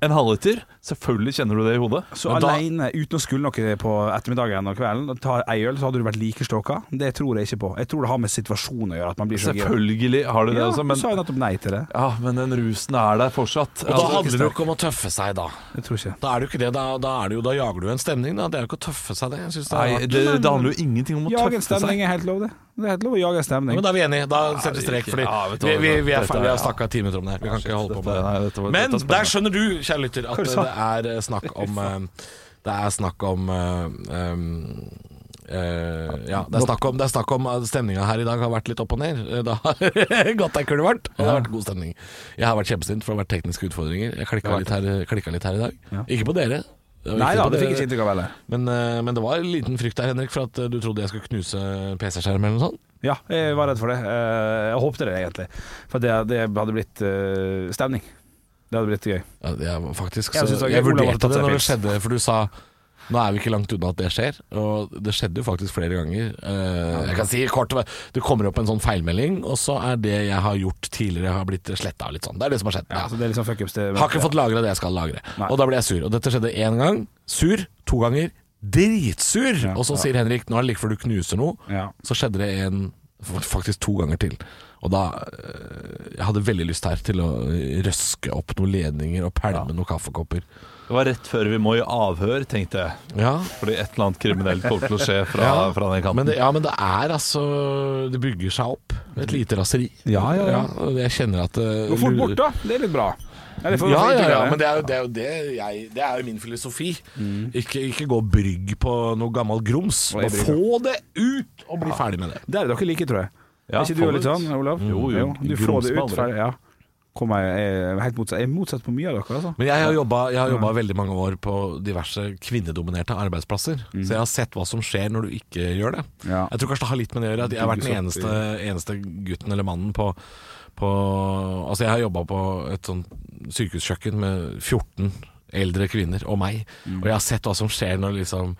Speaker 4: en halvliter. Selvfølgelig kjenner du det i hodet.
Speaker 5: Så
Speaker 4: Men da-
Speaker 5: alene, uten å skulle noe på ettermiddagen og kvelden, og tar ei øl, så hadde du vært like ståka. Det tror jeg ikke på. Jeg tror det har med situasjonen å gjøre. At man blir så gira.
Speaker 4: Selvfølgelig har du det
Speaker 5: Ja,
Speaker 4: også,
Speaker 5: du
Speaker 4: men,
Speaker 5: sa jo nettopp nei til det.
Speaker 4: ja, men den rusen er der fortsatt.
Speaker 3: Og da
Speaker 4: Altså,
Speaker 3: handler det jo ikke om å tøffe seg, da.
Speaker 5: Jeg tror ikke.
Speaker 3: Da er det jo ikke det, da, da, er det jo, da jager du en stemning, da. Det er jo ikke å tøffe seg, det. Jeg synes det er
Speaker 4: Nei,
Speaker 3: rart.
Speaker 4: det, det handler jo ingenting om å
Speaker 5: Jage
Speaker 4: tøffe
Speaker 5: en
Speaker 4: seg.
Speaker 5: stemning er helt lov, det. Det er helt lov å jage en
Speaker 3: Ja,
Speaker 5: stemning.
Speaker 3: men da er vi enige. Da setter vi
Speaker 4: det er
Speaker 3: strek,
Speaker 4: ikke-
Speaker 3: fordi
Speaker 4: ja, vet du
Speaker 3: vi,
Speaker 4: hva,
Speaker 3: vi, vi, er,
Speaker 4: dette
Speaker 3: fer- vi
Speaker 4: er-
Speaker 3: har snakka ti minutter om det her. Vi kan ikke holde på med
Speaker 4: dette- nei, dette
Speaker 3: det.
Speaker 4: var-
Speaker 3: Men
Speaker 4: dette er
Speaker 3: der skjønner du, kjære lytter, at
Speaker 5: du
Speaker 3: eh,
Speaker 5: sa?
Speaker 3: det er snakk om eh, Det er snakk om eh, eh, eh, ja, det er snakk om, det er snakk om at stemninga her i dag har vært litt opp og ned. Eh, Det har gått ei kule varmt, og det har vært god stemning. Jeg har vært kjempesint, for det har vært tekniske utfordringer. Jeg klikka litt, her- klikka litt her i dag. Ikke på dere. Det var
Speaker 5: Nei
Speaker 3: ikke
Speaker 5: da,
Speaker 3: på
Speaker 5: det
Speaker 3: dere.
Speaker 5: fikk jeg ikke inntrykk av heller.
Speaker 3: Men, eh, men det var en liten frykt der, Henrik, for at eh, du trodde jeg skulle knuse PC-skjermen eller noe sånt.
Speaker 5: Ja, jeg var redd for det. Eh, Jeg håpte det, egentlig. For det, det hadde blitt eh, stemning. Det hadde blitt gøy.
Speaker 3: Ja, det er faktisk
Speaker 5: Jeg
Speaker 3: så,
Speaker 5: synes det
Speaker 3: Jeg,
Speaker 5: er gøy. Olav har
Speaker 3: vurderte det
Speaker 5: tatt seg
Speaker 3: når det
Speaker 5: pils.
Speaker 3: skjedde, for du sa nå er vi ikke langt unna at det skjer, og det skjedde jo faktisk flere ganger. Eh, jeg kan si kort Det kommer opp en sånn feilmelding, og så er det jeg har gjort tidligere, har blitt sletta litt sånn. Det er det som har skjedd. Ja.
Speaker 5: Så det er liksom fuck ups. Det,
Speaker 3: Har ikke fått lagra det jeg skal lagre.
Speaker 5: Nei.
Speaker 3: Og da ble jeg sur. Og dette skjedde én gang. Sur. To ganger. Dritsur.
Speaker 5: Ja,
Speaker 3: og så
Speaker 5: ja.
Speaker 3: sier Henrik nå er det like før du knuser noe.
Speaker 5: Ja.
Speaker 3: Så skjedde det en faktisk to ganger til. Og da eh, Jeg hadde veldig lyst her til å røske opp noen ledninger og pælme noen kaffekopper.
Speaker 4: Det var rett før vi må i avhør, tenkte jeg.
Speaker 3: Ja,
Speaker 4: Fordi et eller annet kriminelt kommer til å skje fra,
Speaker 3: Ja,
Speaker 4: fra den kanten.
Speaker 3: men det, ja, men det er altså Det bygger seg opp. Et lite raseri.
Speaker 5: Ja, ja, ja.
Speaker 3: og jeg kjenner at det
Speaker 5: Gå fort bort, da. Det er litt bra. Eller for-
Speaker 3: Ja,
Speaker 5: for
Speaker 3: ja,
Speaker 5: inntrykk
Speaker 3: ja,
Speaker 5: av
Speaker 3: men det er jo, det er jo, det jeg, det er jo min filosofi.
Speaker 5: Mm.
Speaker 3: Ikke, ikke gå brygg på noe gammel grums.
Speaker 5: Og jeg
Speaker 3: Bare få det ut, og bli ferdig med det.
Speaker 5: Der er dere like, tror jeg.
Speaker 4: Ja,
Speaker 5: er ikke du
Speaker 4: få
Speaker 5: litt
Speaker 4: det ut.
Speaker 5: sånn, Olav?
Speaker 4: Jo, jo.
Speaker 5: Du får det
Speaker 4: Grums
Speaker 5: ut
Speaker 4: med
Speaker 5: ferdig. Ja. Kom, jeg, jeg, er helt motsatt. jeg er motsatt på mye av dere, altså.
Speaker 3: Men jeg har jobba, jeg har jobba veldig mange år på diverse kvinnedominerte arbeidsplasser. Så jeg har sett hva som skjer når du ikke gjør det.
Speaker 5: Mm. Ja.
Speaker 3: Jeg tror kanskje det har litt med det å gjøre at jeg har vært den
Speaker 5: Bygges opp
Speaker 3: eneste, eneste gutten eller mannen på, på Altså jeg har jobba på et sånt sykehuskjøkken med 14 eldre kvinner og meg.
Speaker 5: Mm.
Speaker 3: Og jeg har sett hva som skjer når liksom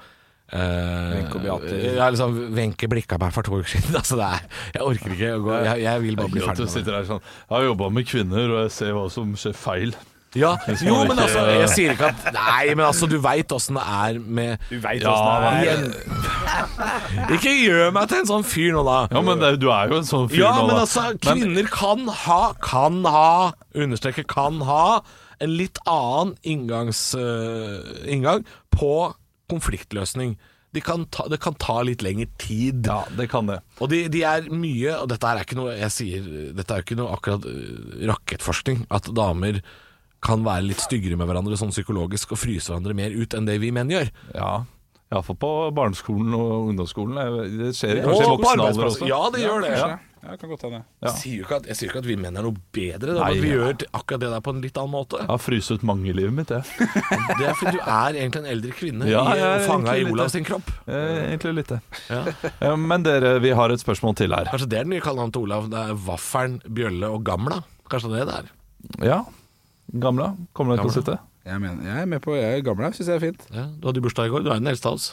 Speaker 5: Wenche og Beate.
Speaker 3: Eh, ja, liksom Wenche blikka meg for to uker siden. Altså det er, jeg orker ikke å gå Jeg, jeg vil bare
Speaker 4: Det er
Speaker 3: bli
Speaker 4: gøy at
Speaker 3: ferdig
Speaker 4: du
Speaker 3: med det.
Speaker 4: sitter her sånn Jeg har jobba med kvinner, og jeg ser hva som skjer feil.
Speaker 3: Ja, jo,
Speaker 4: man
Speaker 3: men
Speaker 4: ikke-
Speaker 3: altså Jeg sier ikke at Nei, men altså, du veit åssen det er med
Speaker 5: Du veit
Speaker 4: Ja,
Speaker 5: åssen det er.
Speaker 3: Igjen. Ikke gjør meg til en sånn fyr nå, da.
Speaker 4: Ja, men det, er- du er jo en sånn fyr
Speaker 3: Ja,
Speaker 4: nå,
Speaker 3: men
Speaker 4: da.
Speaker 3: altså, kvinner kan ha Kan ha, understreker kan ha, en litt annen inngangs, øh, inngang på konfliktløsning. De kan ta, det kan ta litt lengre tid.
Speaker 4: Ja, det kan det.
Speaker 3: Og de, de er mye Og dette her er ikke noe jeg sier Dette er jo ikke noe akkurat øh, rakettforskning At damer kan være litt styggere med hverandre Sånn psykologisk Og fryse hverandre mer ut enn det vi menn gjør
Speaker 4: Ja. Iallfall på barneskolen og ungdomsskolen. Jeg- Det skjer
Speaker 3: Og
Speaker 4: kanskje i
Speaker 3: på
Speaker 4: voksen alder
Speaker 3: arbeidsplasser.
Speaker 4: også.
Speaker 3: Ja, det gjør det
Speaker 5: Ja, det kan godt hende.
Speaker 4: Ja.
Speaker 3: Jeg sier jo ikke at, jeg sier ikke at vi menn er noe bedre Det er
Speaker 4: Nei,
Speaker 3: bare at vi
Speaker 4: ja.
Speaker 3: gjør akkurat det der på en litt annen måte
Speaker 4: Jeg har fryst ut mange i livet mitt, jeg.
Speaker 3: Det er fordi du er egentlig en eldre kvinne
Speaker 4: Ja,
Speaker 3: i,
Speaker 4: jeg er
Speaker 3: Fanget
Speaker 4: egentlig
Speaker 3: i
Speaker 4: litt
Speaker 3: Olav
Speaker 4: det.
Speaker 3: sin kropp
Speaker 4: Eh, Egentlig litt, det.
Speaker 3: Ja.
Speaker 4: Eh, Men dere, vi har et spørsmål til her.
Speaker 3: Kanskje det er den nye kallenavnet til Olav Det er Vafferen, Bjølle og Gamla Kanskje det er det der
Speaker 4: Ja. Gamla, kommer dere til å
Speaker 3: Gamla.
Speaker 4: sitte?
Speaker 5: Jeg, mener, jeg er med på Jeg er gammel, jeg syns jeg er fint.
Speaker 3: ja, Du hadde jo bursdag i går, du er den eldste av oss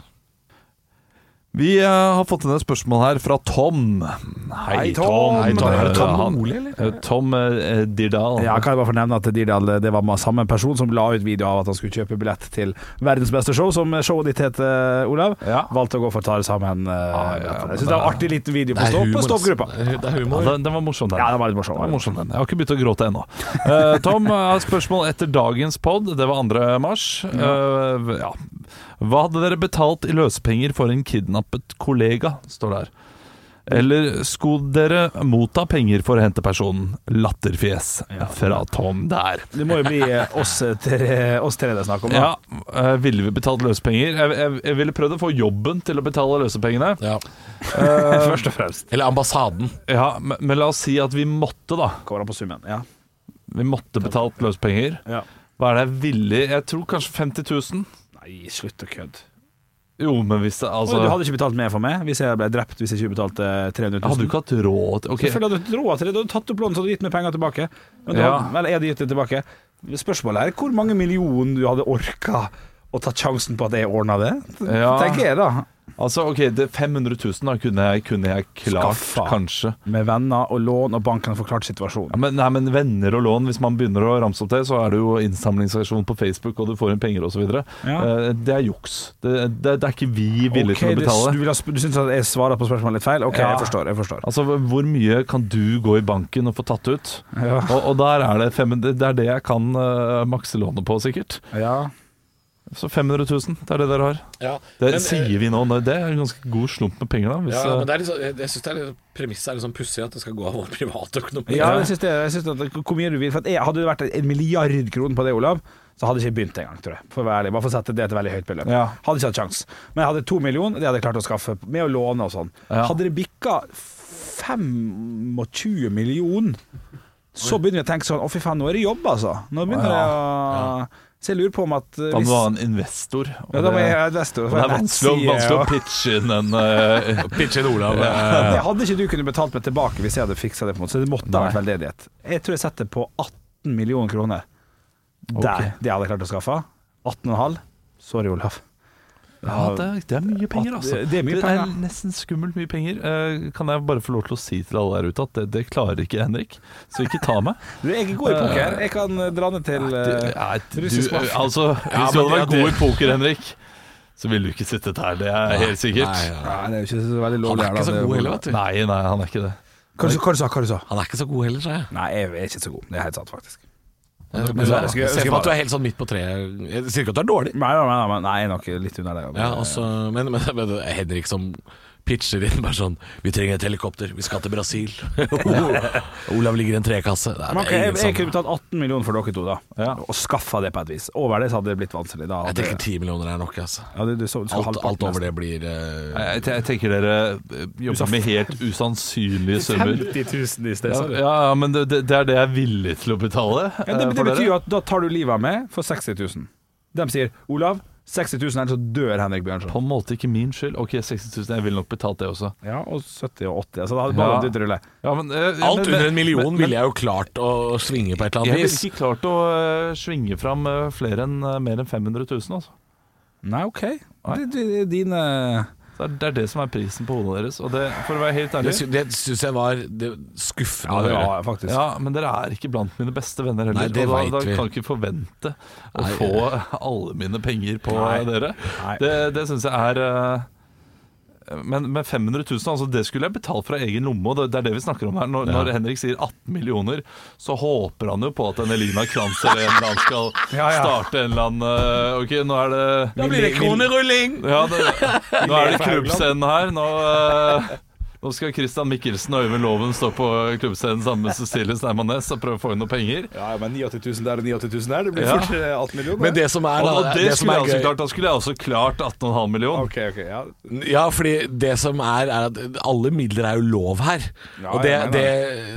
Speaker 4: Vi eh, har fått inn et spørsmål her fra Tom.
Speaker 5: Hei, Tom.
Speaker 4: Hei, Tom.
Speaker 5: Er det Tom
Speaker 4: Han-
Speaker 5: Ole, eller?
Speaker 4: Eh, Tom eh, Dirdal.
Speaker 5: Ja, kan jeg bare få nevne at Dirdal det var samme person som la ut video av at han skulle kjøpe billett til verdens beste show, som showet ditt het, eh, Olav.
Speaker 4: Ja.
Speaker 5: Valgte å gå for å ta det sammen. eh,
Speaker 4: Ah, ja,
Speaker 5: billetter.
Speaker 4: men
Speaker 5: jeg syns det var en artig liten video på stopp, på stoppgruppa.
Speaker 3: Det er- det er
Speaker 4: Ja,
Speaker 3: humor
Speaker 4: den, den var morsom, den.
Speaker 5: Ja, den var litt
Speaker 4: Den
Speaker 5: morsom.
Speaker 4: var morsom, den. Jeg har ikke begynt å gråte ennå. Eh, Tom, jeg har et spørsmål etter dagens pod. Det var 2. mars. Eh, ja. Hva hadde dere betalt i løsepenger for en kidnappet kollega, står det her. Eller skulle dere motta penger for å hente personen? Latterfjes fra Tom der.
Speaker 5: Det må jo bli eh, oss tre, oss tre det er snakk om. Da.
Speaker 4: Ja, eh, ville vi betalt løsepenger? Jeg, jeg, jeg ville prøvd å få jobben til å betale løsepengene.
Speaker 3: ja. Eh,
Speaker 5: Først og fremst.
Speaker 3: Eller ambassaden
Speaker 4: Ja, men, men la oss si at vi måtte, da.
Speaker 5: Går an på summen. Ja.
Speaker 4: Vi måtte betalt løsepenger.
Speaker 5: ja.
Speaker 4: Hva er det jeg ville? Jeg tror kanskje 50 000.
Speaker 5: Nei, slutt å kødde.
Speaker 4: Jo, men hvis det altså
Speaker 5: Oi, Du hadde ikke betalt mer for meg hvis jeg ble drept hvis jeg ikke betalte eh, 300 000?
Speaker 4: Jeg hadde jo ikke hatt råd til- Ok,
Speaker 5: Selvfølgelig hadde du råd til det. Du hadde tatt opp lån så hadde du gitt meg penger tilbake. Men du
Speaker 4: Ja.
Speaker 5: hadde, vel, jeg hadde gitt det tilbake. Spørsmålet er hvor mange millioner du hadde orka å ta sjansen på at jeg ordna det,
Speaker 4: Ja.
Speaker 5: tenker jeg da.
Speaker 4: Altså, ok, det 500 000 da kunne jeg, kunne jeg klart,
Speaker 5: Skaffa.
Speaker 4: kanskje.
Speaker 5: Med venner og lån, og banken har forklart situasjonen.
Speaker 4: Ja, men, nei, men venner og lån, hvis man begynner å ramse opp det, så er det jo innsamlingsaksjon på Facebook, og du får inn penger osv.
Speaker 5: Ja.
Speaker 4: Eh, det er juks. Det, det, det er ikke vi villige
Speaker 5: Ok,
Speaker 4: til å
Speaker 5: det-
Speaker 4: betale.
Speaker 5: Du, vil ha sp- du syns at jeg svarer på spørsmålet litt feil? OK,
Speaker 4: Ja.
Speaker 5: jeg forstår. jeg forstår
Speaker 4: Altså, Hvor mye kan du gå i banken og få tatt ut?
Speaker 5: Ja.
Speaker 4: Og, og der er det, fem, det er det jeg kan eh, makse lånet på, sikkert.
Speaker 5: ja.
Speaker 4: Så 500 000, det er det dere har.
Speaker 3: Ja,
Speaker 4: Det
Speaker 3: men, eh,
Speaker 4: sier vi nå. Det er en ganske god slump med penger, da. Hvis,
Speaker 3: ja,
Speaker 4: eh,
Speaker 3: men det er litt sånn- jeg, jeg syns det er litt- premisset er litt sånn pussig at det skal gå av vår private økonomi.
Speaker 5: Ja, jeg synes det, jeg synes at Hvor mye du vil. For at jeg, hadde det vært en milliard kroner på det, Olav, så hadde jeg ikke begynt engang, tror jeg. For å være ærlig. Bare for å sette det til et veldig høyt beløp.
Speaker 4: Ja.
Speaker 5: Hadde ikke hatt sjans. Men jeg hadde to millioner, det hadde jeg klart å skaffe med å låne og sånn.
Speaker 4: Ja.
Speaker 5: Hadde det bikka 25 millioner, så begynner vi å tenke sånn Å, fy faen, nå er det jobb, altså. Nå begynner jeg å Så jeg lurer på om at eh,
Speaker 4: da må du
Speaker 5: hvis
Speaker 4: ha en investor. Og
Speaker 5: ja, da må
Speaker 4: det,
Speaker 5: jeg ha investor.
Speaker 4: og det er vanskelig, å- vanskelig å pitche inn en eh,
Speaker 3: Pitchen Olav. eh,
Speaker 5: Det hadde ikke du kunne betalt meg tilbake hvis jeg hadde fiksa det, på en måte så det måtte ha vært
Speaker 4: Nei.
Speaker 5: veldedighet. Jeg tror jeg setter på 18 millioner kroner. Der,
Speaker 4: Ok.
Speaker 5: Det hadde jeg klart å skaffe. 18,5. Sorry, Olav.
Speaker 4: Ja, det, er- det er mye penger, altså.
Speaker 5: Det- det er mye penger.
Speaker 4: nesten skummelt mye penger. Eh, kan jeg bare få lov til å si til alle der ute at det, det klarer ikke Henrik, så ikke ta meg.
Speaker 5: Du er ikke god i poker. Jeg kan eh, dra ned til
Speaker 4: Det-
Speaker 5: eh,
Speaker 4: nei, du,
Speaker 5: russisk mafia.
Speaker 4: altså,
Speaker 3: Ja,
Speaker 4: hvis du
Speaker 3: men
Speaker 4: hadde
Speaker 3: det-
Speaker 4: vært god i poker, Henrik, så ville du ikke sittet her. Det er helt sikkert.
Speaker 3: Nei,
Speaker 4: Nei,
Speaker 3: ja.
Speaker 5: Nei, det er jo ikke så veldig
Speaker 3: Han
Speaker 5: lovlig
Speaker 3: er ikke
Speaker 5: her, da.
Speaker 3: så
Speaker 5: Det-
Speaker 3: god heller, vet du.
Speaker 4: nei, han er ikke det.
Speaker 5: Hva du sa- hva du sa hva du? sa?
Speaker 3: Han er ikke så god heller, sa jeg.
Speaker 5: Nei, jeg er ikke så god. Det er helt sant, faktisk.
Speaker 3: Men
Speaker 5: jeg
Speaker 3: jeg
Speaker 5: skulle- jeg
Speaker 3: ser
Speaker 5: skulle
Speaker 3: for meg at du
Speaker 5: bare-
Speaker 3: er helt sånn midt på treet. Jeg sier ikke at du er dårlig.
Speaker 5: Nei, nei, nei, nei, nei, jeg er nok litt under det.
Speaker 3: Ja, altså, men, men, men det er Henrik som pitcher inn bare sånn 'Vi trenger et helikopter, vi skal til Brasil'. Olav ligger i en trekasse. Nei, det
Speaker 5: Men
Speaker 3: er
Speaker 5: ok,
Speaker 3: sånn.
Speaker 5: jeg,
Speaker 3: ingen
Speaker 5: jeg
Speaker 3: som
Speaker 5: kunne betalt 18 millioner for dere to, da.
Speaker 4: Ja.
Speaker 5: Og skaffa det på et vis. Over det så hadde det blitt vanskelig. Da
Speaker 3: Jeg
Speaker 5: hadde,
Speaker 3: tenker ti millioner er nok, altså.
Speaker 5: ja, du, du, så, du skal
Speaker 3: Alt,
Speaker 5: halvparten
Speaker 3: alt over
Speaker 5: nesten.
Speaker 3: det blir eh,
Speaker 4: Jeg, jeg tenker dere eh, jobber med helt usannsynlige summer.
Speaker 5: 50 000 i sted,
Speaker 4: Ja,
Speaker 5: sa du.
Speaker 4: ja, ja, men det, det det er det jeg er villig til å betale.
Speaker 5: Ja,
Speaker 4: eh,
Speaker 5: det,
Speaker 4: for
Speaker 5: det betyr
Speaker 4: dere.
Speaker 5: jo at da tar du livet av meg for 60 000. De sier 'Olav, 60 000, ellers så dør Henrik Bjørnson'.
Speaker 4: På en måte ikke min skyld. Ok, 60 000. Jeg ville nok betalt det også.
Speaker 5: Ja, og 70 og 80. Altså, da hadde ballen
Speaker 4: Ja.
Speaker 5: dytt rulle.
Speaker 4: Ja, men, eh, ja,
Speaker 3: Alt
Speaker 4: men-
Speaker 3: under en million
Speaker 4: men-
Speaker 3: ville jeg jo klart å svinge på et eller
Speaker 4: Jeg
Speaker 3: annet
Speaker 4: ville
Speaker 3: vis.
Speaker 4: ikke klart å øh, svinge fram øh, flere enn, øh, mer enn 500 000, altså.
Speaker 5: Nei, OK. Det, det, det er dine
Speaker 4: Det er, det er det som er prisen på hodet deres. Og det, for å være helt
Speaker 3: Det,
Speaker 4: ærlig
Speaker 3: sy det syns jeg var det, skuffende å høre.
Speaker 5: Ja, faktisk.
Speaker 4: ja, men dere er ikke blant mine beste venner heller.
Speaker 3: Nei, det
Speaker 4: og
Speaker 3: vet
Speaker 4: da, da
Speaker 3: vi.
Speaker 4: kan jeg ikke forvente å
Speaker 3: Nei.
Speaker 4: få alle mine penger på
Speaker 5: Nei.
Speaker 4: dere.
Speaker 5: Nei.
Speaker 4: Det, det syns jeg er øh, men med 500 000, altså det skulle jeg betalt fra egen lomme. og Det, det er det vi snakker om her. Når,
Speaker 3: Ja.
Speaker 4: når Henrik sier 18 millioner, så håper han jo på at en Elina Kranz eller en eller annen skal
Speaker 5: Ja, ja.
Speaker 4: starte en eller annen øh, Ok, nå er det
Speaker 3: Da blir det kronerulling!
Speaker 4: Ja, det, nå er det klubbscenen her. Nå, eh, nå skal Christian Mikkelsen og Øyvind Loven stå på klubbscenen sammen med Cecilie Steinmanes og prøve å få inn noen penger.
Speaker 5: Ja, men 89 000 der og 89 000 der, det
Speaker 4: Ja.
Speaker 5: fort eh, 18 millioner.
Speaker 3: Men det som er,
Speaker 4: Og, og
Speaker 3: da,
Speaker 4: det
Speaker 3: det altså som er
Speaker 4: skulle jeg også
Speaker 3: gøy-
Speaker 4: klart. Da skulle jeg også klart 18,5 million.
Speaker 5: OK, OK. Ja.
Speaker 3: Ja, fordi det som er, er at alle midler er jo lov her.
Speaker 5: Ja,
Speaker 3: og det,
Speaker 5: jeg mener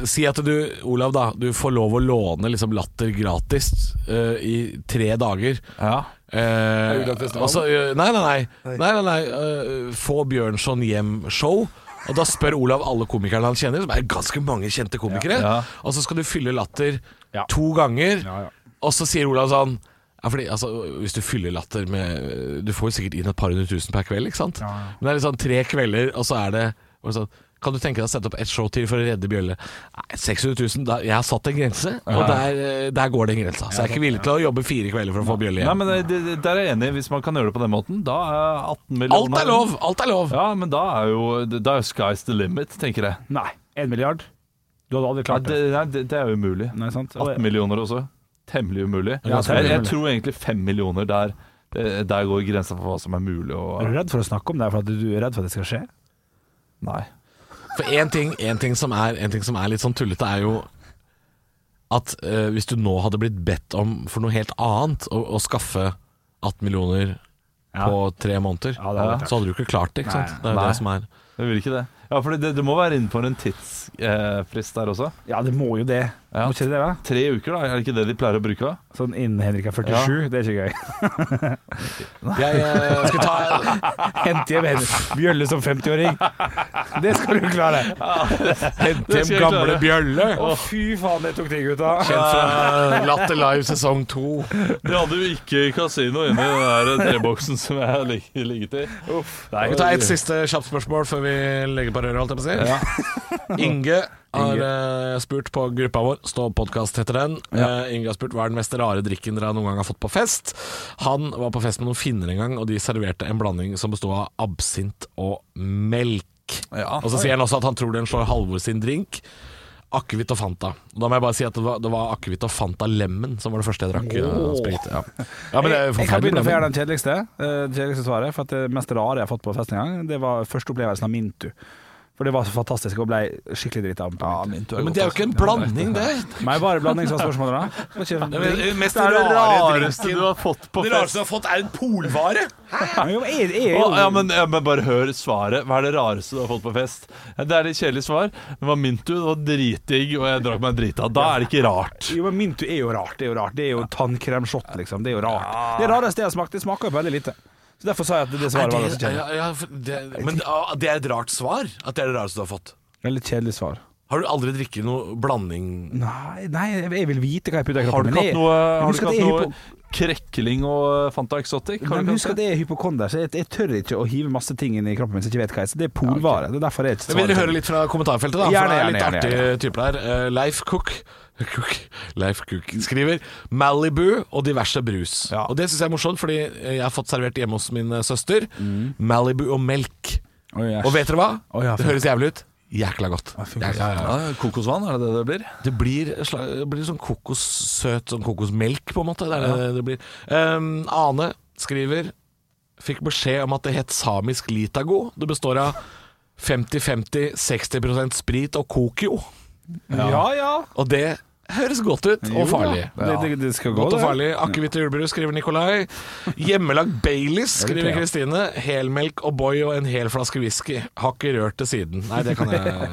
Speaker 3: det Si at du, Olav, da. Du får lov å låne liksom latter gratis eh, i tre dager.
Speaker 4: Ja.
Speaker 3: Eh,
Speaker 5: julaften.
Speaker 3: altså, eh, nei, nei, nei. nei, nei, nei eh, få Bjørnson hjem-show. Og da spør Olav alle komikerne han kjenner, som er ganske mange kjente komikere.
Speaker 4: Ja.
Speaker 3: Og så skal du fylle latter
Speaker 5: Ja.
Speaker 3: to ganger.
Speaker 5: Ja, ja.
Speaker 3: Og så sier Olav sånn ja, fordi, altså, Hvis du fyller latter med Du får jo sikkert inn et par hundre tusen per kveld, ikke sant? Men det er litt sånn tre kvelder, og så er det og sånn, Kan du tenke deg å sette opp ett show til for å redde Bjølle? Nei, 600 000 da, Jeg har satt en grense, og der, eh, der går den grensa. Så jeg er ikke villig til å jobbe fire kvelder for å få Bjølle
Speaker 4: Nei,
Speaker 3: hjem.
Speaker 4: men eh, det, det, Der er jeg enig. Hvis man kan gjøre det på den måten, da er 18
Speaker 3: Alt
Speaker 4: millioner
Speaker 3: er lov! Alt er lov!
Speaker 4: Ja, men da er jo da er sky's the limit, tenker jeg.
Speaker 5: Nei. 1 milliard? Du hadde aldri
Speaker 4: Ja,
Speaker 5: klart
Speaker 4: det,
Speaker 5: det.
Speaker 4: nei, det, det er jo umulig.
Speaker 5: Nei, sant? Og-
Speaker 4: 18 millioner også. Temmelig umulig.
Speaker 5: Ja,
Speaker 4: jeg,
Speaker 5: temmelig
Speaker 4: jeg
Speaker 5: umulig.
Speaker 4: tror egentlig 5 millioner der eh, Der går grensa for hva som er mulig å
Speaker 5: Er du redd for å snakke om det her, for at du er redd for at det skal skje?
Speaker 4: Nei.
Speaker 3: For én ting, en ting, som er- en ting som er litt sånn tullete, er jo at eh, hvis du nå hadde blitt bedt om for noe helt annet, å, å skaffe 18 millioner på tre måneder,
Speaker 5: Ja, det hadde jeg klart.
Speaker 3: så hadde du ikke klart det. ikke sant? Det er jo
Speaker 4: Nei.
Speaker 3: det som er
Speaker 4: Jeg vil ikke det. Ja, for det, det må være innenfor en tidsfrist der også.
Speaker 5: Ja, det må jo det.
Speaker 4: Ja.
Speaker 5: Må ikke det da?
Speaker 4: Tre uker, da? Er det ikke det de pleier å bruke? da?
Speaker 5: Sånn innen Henrik er 47, det er ikke gøy.
Speaker 3: Jeg eh, skal ta
Speaker 5: Hent hjem Henrik Bjølle som 50-åring. Det skal du klare.
Speaker 3: Hent
Speaker 4: Det
Speaker 3: hjem
Speaker 4: skal jeg
Speaker 3: gamle
Speaker 4: klare.
Speaker 3: Bjølle.
Speaker 5: Å, fy faen, det tok de, gutta.
Speaker 3: Kjent fra Latter Live sesong to.
Speaker 4: De hadde jo ikke kasino inne i den der treboksen som jeg har lig- ligget i. Nei,
Speaker 3: Vi tar ett siste kjapt spørsmål før vi legger på røret. holdt jeg på å si. Inge har eh, spurt på gruppa vår, Stå podkast heter den. Eh, Inge har spurt hva er den mest rare drikken dere noen gang har fått på fest. Han var på fest med noen finner en gang, og de serverte en blanding som bestod av absint og melk.
Speaker 4: Ja.
Speaker 3: og så sier han også at han tror den slår Halvor sin drink. Akevitt og Fanta. Og Da må jeg bare si at det var, det var akevitt og Fanta Lemon som var det første jeg drakk. eh, sprit, ja. Ja, men det er jo
Speaker 5: Jeg, jeg kan
Speaker 3: forferdelig
Speaker 5: begynne for å
Speaker 3: blanding.
Speaker 5: gjøre den kjedeligste, eh, det kjedeligste svaret. For at Det mest rare jeg har fått på fest en gang, det var første opplevelsen av Mintu. For det var så fantastisk, og ble skikkelig drita av. Ja, Mintu
Speaker 3: Men det er jo ikke en blanding, det.
Speaker 5: Nei, bare blanding som var spørsmålet, da. Det var ikke-
Speaker 3: Det er det mest
Speaker 4: Det er det
Speaker 3: rare
Speaker 4: rareste du har fått på
Speaker 3: Det
Speaker 4: fest.
Speaker 3: rareste jeg har fått, er en polvare!
Speaker 5: Men jo, jeg- jeg er jo-
Speaker 4: Å, ja, men, ja, men bare hør svaret. Hva er det rareste du har fått på fest? Ja, Det er litt kjedelig svar. Det var Mintu, det var dritdigg, og jeg drakk meg drita. Da er det ikke rart.
Speaker 5: Jo, men Mintu er jo rart. Det er jo rart Det er jo tannkremshot, liksom. Det er jo rart. Det rareste jeg har smakt, det smaker jo veldig lite. Så Derfor sa jeg at det- det svaret var ganske kjedelig.
Speaker 3: men ah, det er et rart svar. At det er det rareste du har fått.
Speaker 5: Veldig kjedelig svar.
Speaker 3: Har du aldri drukket noe blanding
Speaker 5: Nei, nei, jeg- jeg vil vite hva jeg putter i kroppen.
Speaker 4: Har du
Speaker 5: men
Speaker 4: ikke
Speaker 5: jeg-
Speaker 4: hatt noe, har
Speaker 5: men
Speaker 4: du
Speaker 5: husk at
Speaker 4: ikke hatt
Speaker 5: jeg er
Speaker 4: noe
Speaker 5: hypo-
Speaker 4: krekling og Fanta Exotic? Har
Speaker 5: Men
Speaker 4: du ikke
Speaker 5: husk
Speaker 4: hatt
Speaker 5: at jeg er hypokonder, så jeg, jeg tør ikke å hive masse ting inn i kroppen min som jeg ikke vet hva er. Så det er polvare. Det er derfor jeg ikke
Speaker 3: Jeg vil
Speaker 5: svarer.
Speaker 3: høre litt fra kommentarfeltet, da.
Speaker 5: Gjerne,
Speaker 3: for det er
Speaker 5: gjerne,
Speaker 3: litt
Speaker 5: gjerne,
Speaker 3: artige typer der. Eh, Leif Cook, Cook Leif Cook skriver Malibu og diverse brus.
Speaker 5: Ja.
Speaker 3: Og det syns jeg er morsomt, fordi jeg har fått servert hjemme hos min eh, søster Malibu og melk.
Speaker 5: Oi, æsj.
Speaker 3: Og vet dere hva?
Speaker 5: Å, ja,
Speaker 3: det høres jævlig ut. Jækla godt.
Speaker 5: funker.
Speaker 3: Ja, ja, ja.
Speaker 4: det? Ja, kokosvann, er det det det blir?
Speaker 3: Det blir, sla- det blir sånn kokossøt sånn kokosmelk, på en måte. Det er det det blir. Ehm, Ane skriver Fikk beskjed om at det het samisk litago. Det består av 50-50, 60 sprit og kokio.
Speaker 5: Ja, ja.
Speaker 3: Og det høres godt ut, og farlig.
Speaker 5: Det, det, det skal gå,
Speaker 3: Godt og
Speaker 5: det.
Speaker 3: farlig. Akevitt og julebrus, skriver Nikolai. Hjemmelagd Baileys, skriver Kristine. Helmelk og Boy og en hel flaske whisky. Har ikke rørt det siden. Nei, det kan jeg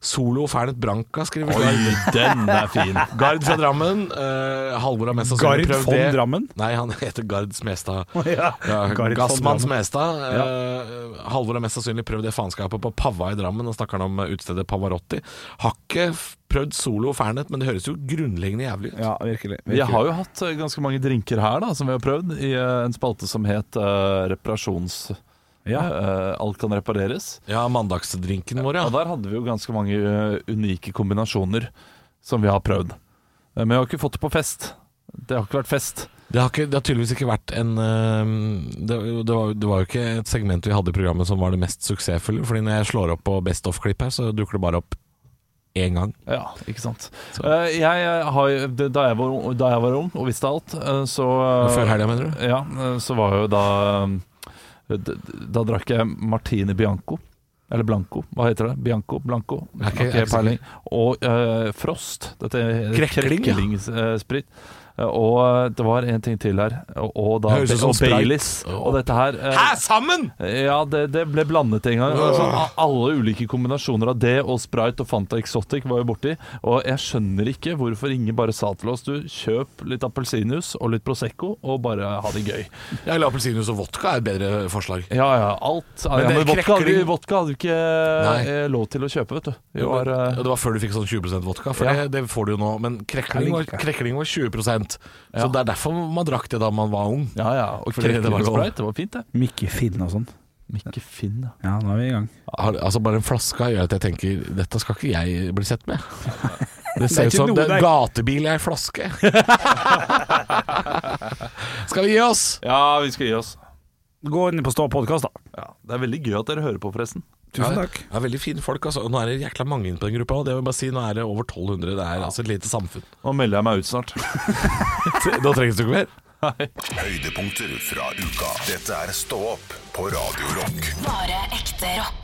Speaker 3: Solo Fernet Branca, skriver
Speaker 4: Oi,
Speaker 3: Gard.
Speaker 4: den er fin.
Speaker 3: Gard fra Drammen. eh, Halvor har mest sannsynlig
Speaker 5: Gard
Speaker 3: prøvd
Speaker 5: von
Speaker 3: det.
Speaker 5: Drammen?
Speaker 3: Nei, han heter Gard Smestad.
Speaker 5: Ja.
Speaker 3: Ja,
Speaker 5: Gard von
Speaker 3: Gassmann
Speaker 5: Drammen.
Speaker 3: Smestad. Eh, Halvor har mest sannsynlig prøvd det faenskapet på Pava i Drammen. Og snakker han om eh, utestedet Pavarotti. Har ikke f- prøvd Solo og Fernet, men det høres jo grunnleggende jævlig ut.
Speaker 5: Ja, virkelig. virkelig.
Speaker 4: Jeg har jo hatt eh, ganske mange drinker her da, som vi har prøvd, i eh, en spalte som het eh, Reparasjons... eh, alt kan repareres.
Speaker 3: Ja, mandagsdrinken vår, ja.
Speaker 4: Og der hadde vi jo ganske mange eh, unike kombinasjoner som vi har prøvd. Eh, Men jeg har ikke fått det på fest. Det har ikke vært fest.
Speaker 3: Det har, ikke, det har tydeligvis ikke vært en eh, det, det, var, det var jo ikke et segment vi hadde i programmet som var det mest suksessfulle. Fordi når jeg slår opp på Best Off-klipp her, så dukker det bare opp én gang.
Speaker 4: Ja, ikke sant. Eh, Jeg eh, har, jo- det- da, jeg var, ung- da jeg var ung og visste alt, eh, så eh,
Speaker 3: Før helga, mener du?
Speaker 4: Ja, eh, så var jo da eh, d- d- Da drakk jeg Martini Bianco. Eller Blanco, hva heter det? Bianco, Blanco.
Speaker 3: Jeg er ikke- jeg er
Speaker 4: Ikke
Speaker 3: ikke
Speaker 4: peiling. Og eh, Frost. Dette er
Speaker 3: Krekling, ja.
Speaker 4: kreklingsprit. Eh, og eh, det var en ting til her. Og, og da
Speaker 3: Høres ut som
Speaker 4: og
Speaker 3: Sprite.
Speaker 4: Baileys. Og dette her eh,
Speaker 3: sammen!
Speaker 4: Ja, det, det ble blandet en gang. Altså, a- alle ulike kombinasjoner av det og Sprite og Fanta Exotic var jo borti. Og jeg skjønner ikke hvorfor ingen bare sa til oss Du, kjøp litt appelsinjuice og litt Prosecco og bare ha det gøy.
Speaker 3: Ja, eller appelsinjuice og vodka er et bedre forslag.
Speaker 4: Ja, ja, alt ja,
Speaker 3: Men det
Speaker 4: men vodka, hadde,
Speaker 3: krekker-
Speaker 4: vodka hadde vi ikke
Speaker 3: Nei.
Speaker 4: eh, lov til å kjøpe, vet du. Det
Speaker 3: Jo, men-
Speaker 4: var, eh,
Speaker 3: og det var før du fikk sånn 20 vodka, for
Speaker 4: Ja.
Speaker 3: det, det får du jo nå. Men krekling var, krekling var 20
Speaker 4: Ja.
Speaker 3: så det er derfor man drakk det da man var ung.
Speaker 4: ja, ja. Og
Speaker 3: Fordi det
Speaker 4: krekker
Speaker 3: var
Speaker 4: og
Speaker 3: lov.
Speaker 4: Sprite, det var fint, det.
Speaker 5: Mickey Finn og sånn.
Speaker 4: Mikke Finn, ja.
Speaker 5: Ja, nå er vi i gang.
Speaker 3: Har, altså Bare en flaske gjør at jeg tenker dette skal ikke jeg bli sett med. Det ser ut
Speaker 5: ikke
Speaker 3: som
Speaker 5: noe
Speaker 3: det er
Speaker 5: der.
Speaker 3: en gatebil i ei flaske. skal vi gi oss?
Speaker 4: Ja, vi skal gi oss.
Speaker 5: Gå inn på Stå podkast, da.
Speaker 4: Ja, det er veldig gøy at dere hører på, forresten.
Speaker 5: Tusen
Speaker 3: Ja,
Speaker 5: takk.
Speaker 3: det er veldig fine folk. altså Og Nå er det jækla mange inne på den gruppa. Og det vil jeg bare si, Nå er det over 1200. Det er altså et lite samfunn.
Speaker 4: Nå melder jeg meg ut snart.
Speaker 3: Nå trengs det ikke mer.
Speaker 1: Høydepunkter fra uka. Dette er Stå opp på Radio Rock.
Speaker 2: Bare ekte rock.